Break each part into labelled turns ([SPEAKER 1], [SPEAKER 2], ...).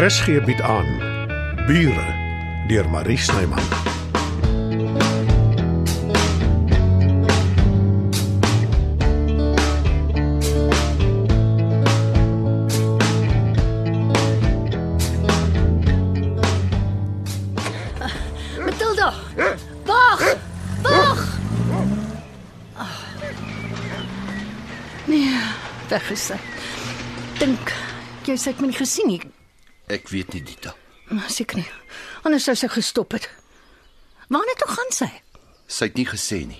[SPEAKER 1] RSG bied aan Bure deur Marie Snyman.
[SPEAKER 2] Matilda! Wag! Wag! Ah. Nee, weg is sy. Dink jy sê ek het my nie gesien nie.
[SPEAKER 3] Ek weet nie Dita.
[SPEAKER 2] Seker nie. Anders sou sy gestop het. Waarna toe gaan sy?
[SPEAKER 3] Sy het nie gesê nie.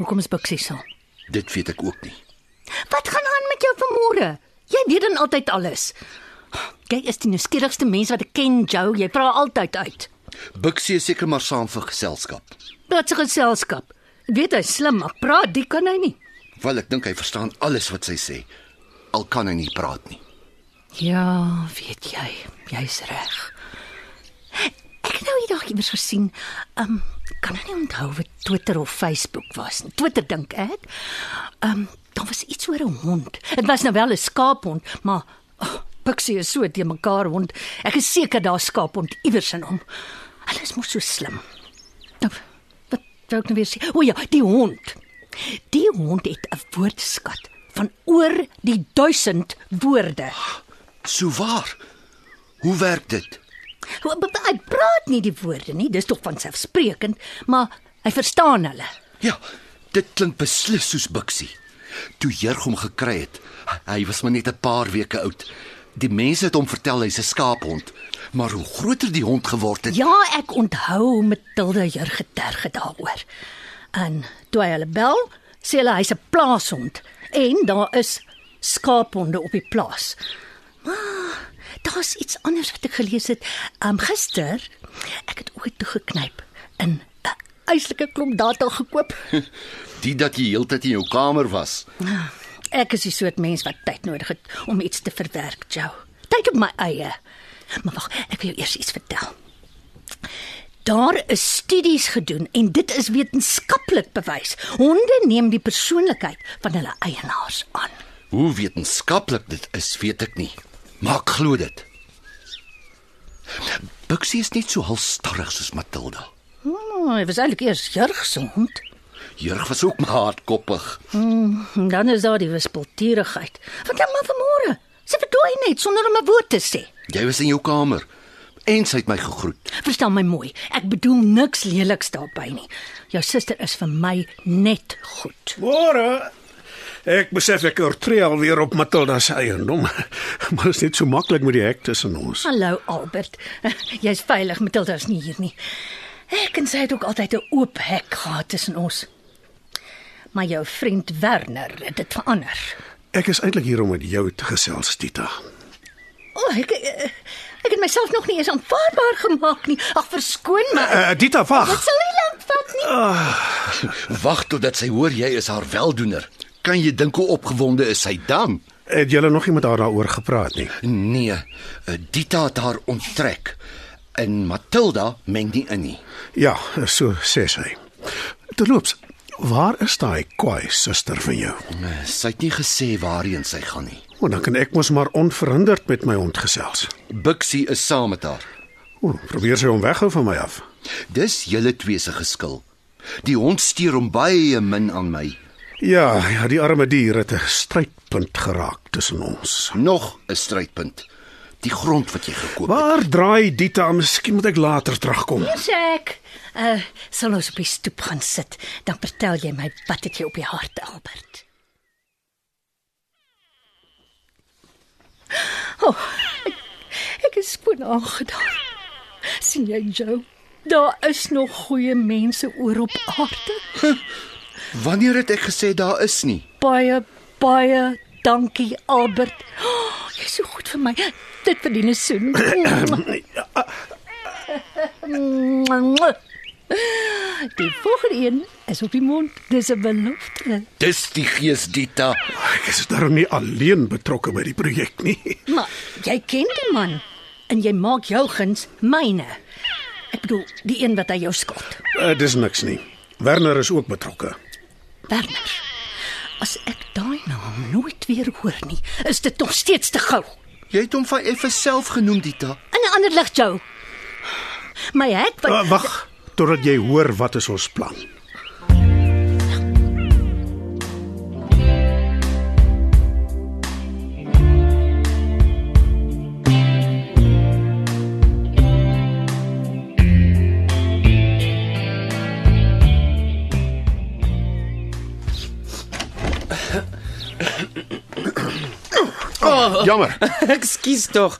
[SPEAKER 2] Hoekom is Bixie so?
[SPEAKER 3] Dit weet ek ook nie.
[SPEAKER 2] Wat gaan aan met jou vanmôre? Jy weet dan altyd alles. Jy is die nuuskierigste mens wat ek ken, Jo. Jy vra altyd uit.
[SPEAKER 3] Bixie is seker maar saam vir geselskap.
[SPEAKER 2] Wat 'n geselskap. Ek weet hy is slim, maar praat, die kan hy nie.
[SPEAKER 3] Wel ek dink hy verstaan alles wat sy sê. Al kan hy nie praat nie.
[SPEAKER 2] Ja, weet jy, jy's reg. Ek het nou eendag iewers gesien, ehm um, kan nou nie onthou wat Twitter of Facebook was nie. Twitter dink ek. Ehm um, daar was iets oor 'n hond. Dit was nou wel 'n skaaphond, maar oh, Pixie is so te mekaar hond. Ek is seker daar skaaphond iewers in hom. Hulle is mos so slim. Nou, wat wou ek nou weer sê? O ja, die hond. Die hond het 'n woordeskat van oor die 1000 woorde.
[SPEAKER 3] Sou waar. Hoe werk dit?
[SPEAKER 2] Hoe- b- b- Hy praat nie die woorde nie, dis tog van selfsprekend, maar hy verstaan hulle.
[SPEAKER 3] Ja, dit klink beslis soos Bixie. Toe Jurg hom gekry het, hy was maar net 'n paar weke oud. Die mense het hom vertel hy's 'n skaaphond, maar hoe groter die hond geword het,
[SPEAKER 2] Ja, ek onthou Matilda hier geterg daaroor. En toe hy hulle bel, sê hulle hy's 'n plaashond en daar is skaaphonde op die plaas. Maar daar's iets anders wat ek gelees het. Um gister ek het ooit toe geknyp in 'n eislike klomp data gekoop.
[SPEAKER 3] die dat jy heeltyd in jou kamer was.
[SPEAKER 2] Ek is die soort mens wat tyd nodig het om iets te verwerk, Jo. Tyd op my eie. Maar wag, ek wil jou eers iets vertel. Daar is studies gedoen en dit is wetenskaplik bewys. Honde neem die persoonlikheid van hulle eienaars aan.
[SPEAKER 3] Hoe wetenskaplik dit is, weet ek nie. Maar ek glo dit. Buxie is net so halstarrig soos Matilda.
[SPEAKER 2] Oh, dit was eintlik eers jurg se hond.
[SPEAKER 3] Jurg was ook maar hardkoppig.
[SPEAKER 2] En Dan is daar die wispelturigheid. Wat dan maar vanmôre? Sy verdooi net sonder om 'n woord te sê.
[SPEAKER 3] Jy was in jou kamer en sy het my gegroet.
[SPEAKER 2] Verstaan my mooi, ek bedoel niks leliks daarbey nie. Jou suster is vir my net goed.
[SPEAKER 1] Môre ek besef ek oortree alweer op Matilda se eiendom, maar dit is net so maklik met die hek tussen ons.
[SPEAKER 2] Hallo nou, Albert. Jy's veilig, Matilda is nie hier nie. Ek en sy het ook altyd 'n oop hek gehad tussen ons. Maar jou vriend Werner het dit verander.
[SPEAKER 1] Ek is eintlik hier om met jou te gesels, Tita.
[SPEAKER 2] O, oh, ek ek het myself nog nie eens aanvaarbaar gemaak nie. Ag, verskoon my.
[SPEAKER 1] Uh, Tita,
[SPEAKER 2] Dit
[SPEAKER 1] wag.
[SPEAKER 2] sal nie lank vat nie.
[SPEAKER 3] Wag totdat sy hoor jy is haar weldoener. Kan jy dink hoe opgewonde is sy dan?
[SPEAKER 1] Het julle nog nie met haar daaroor gepraat nie?
[SPEAKER 3] Nee, Dita het haar onttrek en Matilda meng nie in nie.
[SPEAKER 1] Ja, so sê sy. Terloops, waar is daai kwaai suster van jou?
[SPEAKER 3] Eh, Sy het nie gesê waarheen sy gaan nie.
[SPEAKER 1] Want dan kan ek mos maar onverhinderd met my hond gesels.
[SPEAKER 3] Buxie is saam met haar.
[SPEAKER 1] O, probeer sy hom weghou van my af.
[SPEAKER 3] Dis julle twee se geskil. Die hond steur hom baie min aan my.
[SPEAKER 1] Ja, ja, die arme dier het 'n strydpunt geraak tussen ons.
[SPEAKER 3] Nog 'n strydpunt. Die grond wat jy gekoop het.
[SPEAKER 1] Waar draai Dita? Miskien moet ek later terugkom.
[SPEAKER 2] Sek. Uh, sal ons op die stoep gaan sit, dan vertel jy my wat het jy op die hart, Albert. Oh, Ek is skoon aangedaan. sien jy Joe? Daar is nog goeie mense oor op aarde.
[SPEAKER 3] Wanneer het ek gesê daar is nie?
[SPEAKER 2] Baie baie dankie Albert. Oh, Jy's so goed vir my. Dit verdien 'n soen.
[SPEAKER 1] Nee, ja,
[SPEAKER 2] Die volgende een is op die mond. Dis 'n belofte.
[SPEAKER 3] Dis die gees Dita.
[SPEAKER 1] Ek is daarom nie alleen betrokke by die projek nie.
[SPEAKER 2] Maar jy ken die man en jy maak jou guns myne. Ek bedoel, die een wat hy jou skuld.
[SPEAKER 1] Uh, dis niks nie. Werner is ook betrokke.
[SPEAKER 2] Werner. As ek daai naam nooit weer hoor nie, is dit nog steeds te gou.
[SPEAKER 3] Jy het hom van effe self genoem, Dita.
[SPEAKER 2] In 'n ander lig jou. My hek wat
[SPEAKER 1] Uh, Wag totdat jy hoor wat is ons plan.
[SPEAKER 4] Jammer. Ekskuus tog.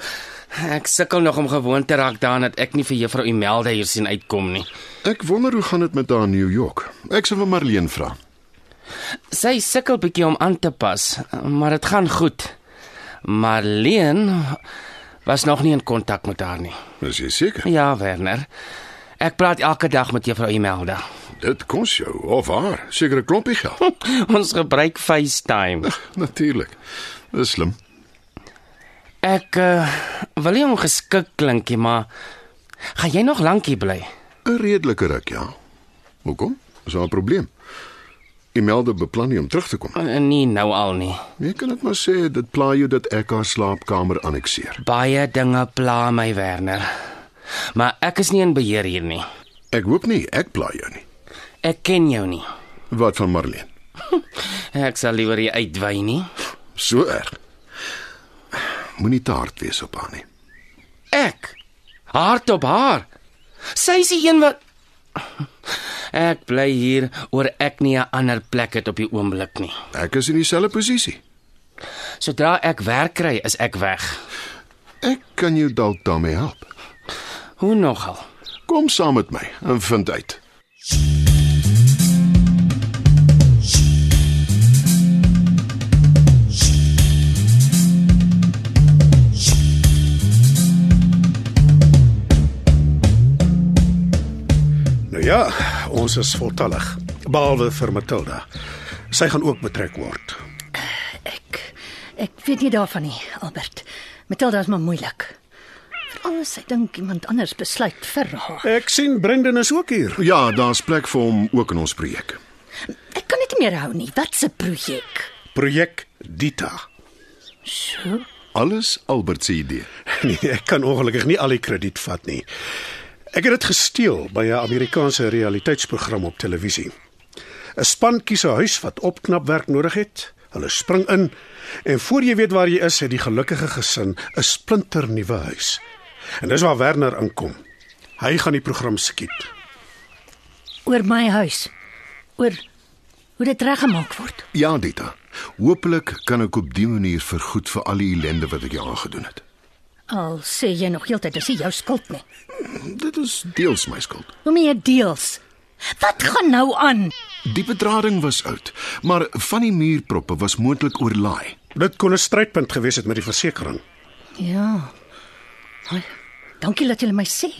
[SPEAKER 4] Ek sukkel nog om gewoon te raak daaraan dat ek nie vir juffrou Imelda hier sien uitkom nie.
[SPEAKER 5] Ek wonder hoe gaan dit met haar in New York. Ek sal vir Marlene vra.
[SPEAKER 4] Sy sukkel bietjie om aan te pas, maar dit gaan goed. Marleen was nog nie in kontak met haar nie.
[SPEAKER 5] Is jy seker?
[SPEAKER 4] Ja, Werner. Ek praat elke dag met juffrou Imelda.
[SPEAKER 5] Dit kos jou of haar seker 'n klompie geld.
[SPEAKER 4] Ons gebruik FaceTime.
[SPEAKER 5] Natuurlik. Dis slim.
[SPEAKER 4] Ek uh, wil nie ongeskik klinkie, maar gaan jy nog lank hier bly?
[SPEAKER 5] 'n Redelike ruk, ja. Hoekom? Is daar 'n probleem? Imelda beplan nie om terug te kom.
[SPEAKER 4] Uh, Nee, nou al nie.
[SPEAKER 5] Jy kan dit maar sê dit pla jou dat ek haar slaapkamer annexeer.
[SPEAKER 4] Baie dinge pla my, Werner. Maar ek is nie in beheer hier nie.
[SPEAKER 5] Ek hoop nie ek pla jou nie.
[SPEAKER 4] Ek ken jou nie.
[SPEAKER 5] Wat van Marlene?
[SPEAKER 4] Ek sal liewer jy uitwy nie.
[SPEAKER 5] So erg. Moenie te hard wees op haar nie.
[SPEAKER 4] Ek hard op haar. Sy is die een wat Ek bly hier oor ek nie 'n ander plek het op die oomblik nie.
[SPEAKER 5] Ek is in dieselfde posisie.
[SPEAKER 4] Sodra ek werk kry, is ek weg.
[SPEAKER 5] Ek kan jou dalk daarmee help.
[SPEAKER 4] Hoe nogal?
[SPEAKER 5] Kom saam met my en vind uit.
[SPEAKER 1] Nou ja, ons is voltallig behalwe vir Matilda. Sy gaan ook betrek word.
[SPEAKER 2] ek ek weet nie daarvan nie, Albert. Matilda is maar moeilik. Veral as sy dink iemand anders besluit vir haar.
[SPEAKER 1] Ek sien Brendan is ook hier.
[SPEAKER 5] Ja, daar's plek vir hom ook in ons projek.
[SPEAKER 2] Ek kan dit nie meer hou nie. Wat 'n projek.
[SPEAKER 1] Projek Dita.
[SPEAKER 2] So.
[SPEAKER 5] Alles Albert se idee.
[SPEAKER 1] Nee, ek kan ongelukkig nie al die krediet vat nie. Ek het dit gesteel by 'n Amerikaanse realiteitsprogram op televisie. 'n Span kies 'n huis wat opknapwerk nodig het. Hulle spring in en voor jy weet waar jy is, het die gelukkige gesin 'n splinternuwe huis. En dis waar Werner inkom. Hy gaan die program skiet.
[SPEAKER 2] oor my huis. Oor hoe dit reggemaak word.
[SPEAKER 5] Ja, Dita. Hoopelik kan ek op die manier vergoed vir al die ellende wat ek jou aangedoen het.
[SPEAKER 2] Al sê jy nog heeltyd dis nie jou skuld nie.
[SPEAKER 5] Dit is deels my skuld.
[SPEAKER 2] Hoe meer deels. Wat gaan nou aan?
[SPEAKER 5] Die bedrading was oud, maar van die muurproppe was moontlik oorlaai.
[SPEAKER 1] Dit kon 'n strydpunt gewees het met die versekerings.
[SPEAKER 2] Ja. Hoi. Dankie dat jy my sê.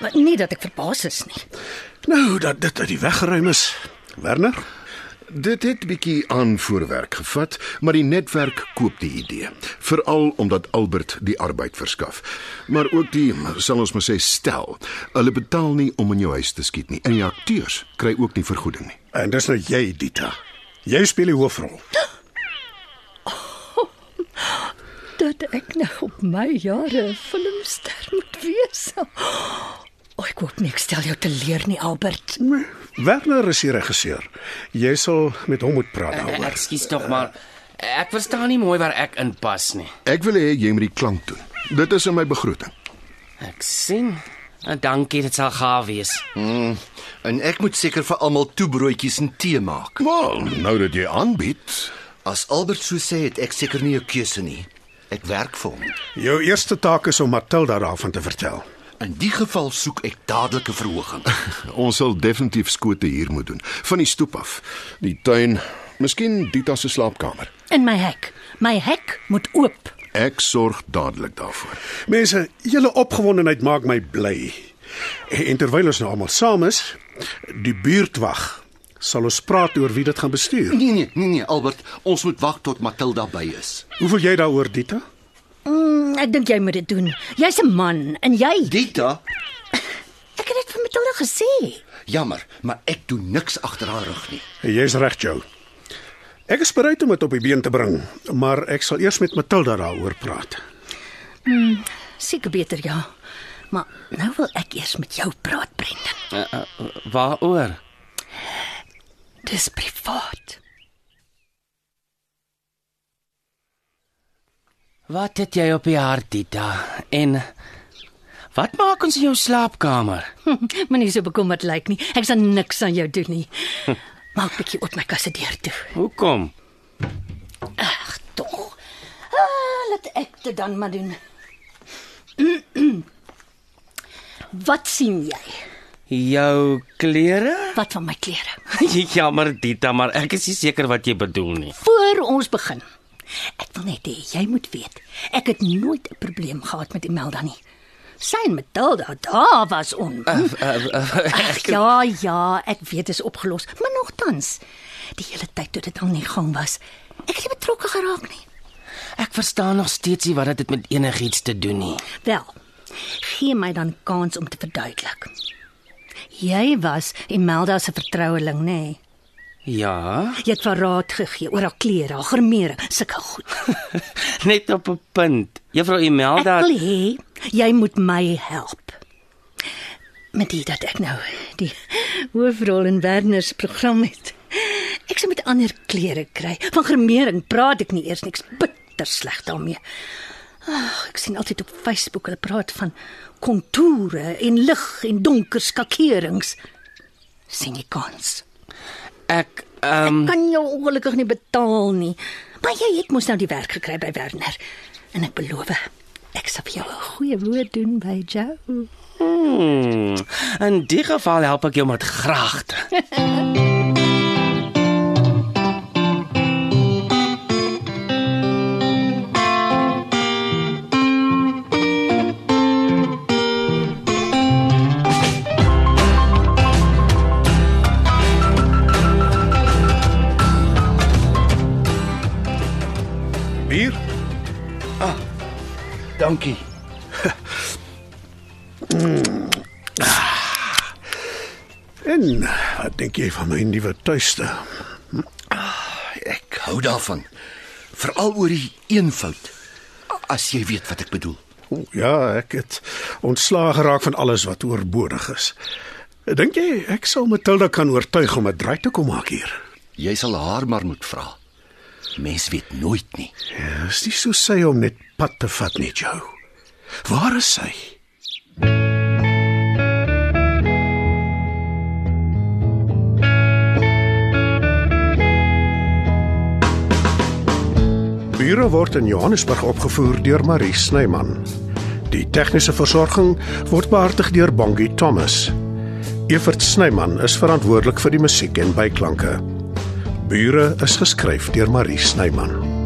[SPEAKER 2] Maar nie dat ek verbaas is nie.
[SPEAKER 1] Nou dat dit uit die weg geruim is. Werner,
[SPEAKER 5] Dit het bietjie aan voorwerk gevat, maar die netwerk koop die idee, veral omdat Albert die arbeid verskaf. Maar ook die, sal ons maar sê, stel, hulle betaal nie om in jou huis te skiet nie. En die akteurs kry ook nie vergoeding nie.
[SPEAKER 1] en dis nou jy, Dita. Jy speel die hoofrol.
[SPEAKER 2] Dat ek nou op my jare 'n filmster moet wees. O, Oh, ek hoop nie ek stel jou te leer nie, Albert.
[SPEAKER 1] Werner is die regisseur. Jy sal met hom moet praat daaroor.
[SPEAKER 4] Ekskuus tog maar ek verstaan nie mooi waar ek inpas nie.
[SPEAKER 5] Ek wil hê jy moet die klank doen. Dit is in my begroting.
[SPEAKER 4] Ek sien. En dankie, dit sal gaaf wees.
[SPEAKER 3] En ek moet seker vir almal toebroodjies en tee maak.
[SPEAKER 5] Wel, nou dat jy aanbied,
[SPEAKER 3] As Albert so sê, het ek seker nie 'n keuse nie. Ek werk vir hom.
[SPEAKER 1] Jou eerste taak is om Matilda daarvan te vertel.
[SPEAKER 3] In die geval soek ek dadelike verhoging.
[SPEAKER 5] ons sal definitief skote hier moet doen, van die stoep af, die tuin, miskien Dita se slaapkamer.
[SPEAKER 2] In my hek. My hek moet oop.
[SPEAKER 5] Ek sorg dadelik daarvoor.
[SPEAKER 1] Mense, julle opgewondenheid maak my bly. En terwyl ons nou almal saam is, die buurtwag sal ons praat oor wie dit gaan bestuur.
[SPEAKER 3] Nee nee, nee nee, Albert, ons moet wag tot Matilda by is.
[SPEAKER 1] Hoe voel jy daaroor, Dita?
[SPEAKER 2] Mm, ek dink jy moet dit doen. Jy's 'n man en jy.
[SPEAKER 3] Dita,
[SPEAKER 2] Ek het dit vir Matilda gesê.
[SPEAKER 3] jammer, maar ek doen niks agter haar rug nie.
[SPEAKER 1] Jy's reg, Jo. Ek is bereid om dit op die been te bring, maar ek sal eers met Matilda daaroor praat.
[SPEAKER 2] Seker beter ja. Maar nou wil ek eers met jou praat, Brendan.
[SPEAKER 4] Waaroor?
[SPEAKER 2] Dis privaat.
[SPEAKER 4] Wat het jy op die hart, Tita? En wat maak ons in jou slaapkamer?
[SPEAKER 2] Moenie so bekommerd lyk nie. Ek sal niks aan jou doen nie. Maak bietjie op my kasse deur toe.
[SPEAKER 4] Hoekom?
[SPEAKER 2] Ag, tog. Ah, laat ek dit dan maar doen. Wat sien jy?
[SPEAKER 4] Jou klere?
[SPEAKER 2] Wat van my klere?
[SPEAKER 4] Jammer, Tita, maar ek is nie seker wat jy bedoel nie.
[SPEAKER 2] Voor ons begin. Ek wil net hê jy moet weet, ek het nooit 'n probleem gehad met Imelda nie. Sy en Matilda, daar was on. Ag ja, ja, ek weet dit is opgelos, maar nogtans, die hele tyd toe dit aan die gang was, ek het nie betrokke geraak nie.
[SPEAKER 4] Ek verstaan nog steeds nie wat dit het met enigiets te doen nie.
[SPEAKER 2] Wel, gee my dan kans om te verduidelik. Jy was Imelda se vertroueling, nê? Nee?
[SPEAKER 4] Ja,
[SPEAKER 2] Jy het vir raad gegee oor haar klere, haar gemeere, sulke goed.
[SPEAKER 4] net op 'n punt. Juffrou
[SPEAKER 2] Ek
[SPEAKER 4] Imelda,
[SPEAKER 2] wil hê jy moet my help. Met dit dat ek nou die hoofrol in Werner se program het. Ek sê met ander klere kry. Van gemering praat ek nie eers niks bitter sleg daarmee. Ag, ek sien altyd op Facebook hulle praat van kontoure en lig en donker skakerings. sien jy kans?
[SPEAKER 4] ek ehm um,
[SPEAKER 2] Kan jou ongelukkig nie betaal nie. Maar jy het mos nou die werk gekry by Werner en ek beloof ek sal vir jou 'n goeie woord doen by Joe.
[SPEAKER 4] hmm, in die geval help ek jou met graagte.
[SPEAKER 1] Bier?
[SPEAKER 3] Dankie.
[SPEAKER 1] En wat dink jy van my nuwe tuiste?
[SPEAKER 3] Ek hou daarvan. Veral oor die eenvoud. As jy weet wat ek bedoel.
[SPEAKER 1] O, ja, ek het ontslae geraak van alles wat oorbodig is. Dink jy ek sal Matilda kan oortuig om 'n draai te kom maak hier?
[SPEAKER 3] Jy sal haar maar moet vra. Mens weet nooit nie.
[SPEAKER 1] Ja, is nie so sy om net pad te vat nie, Joe. Waar is sy? Bure word in Johannesburg opgevoer deur Marie Snyman. Die tegniese versorging word behartig deur Bongie Thomas. Evert Snyman is verantwoordelik vir die musiek en byklanke. Bure is geskryf deur Marie Snyman.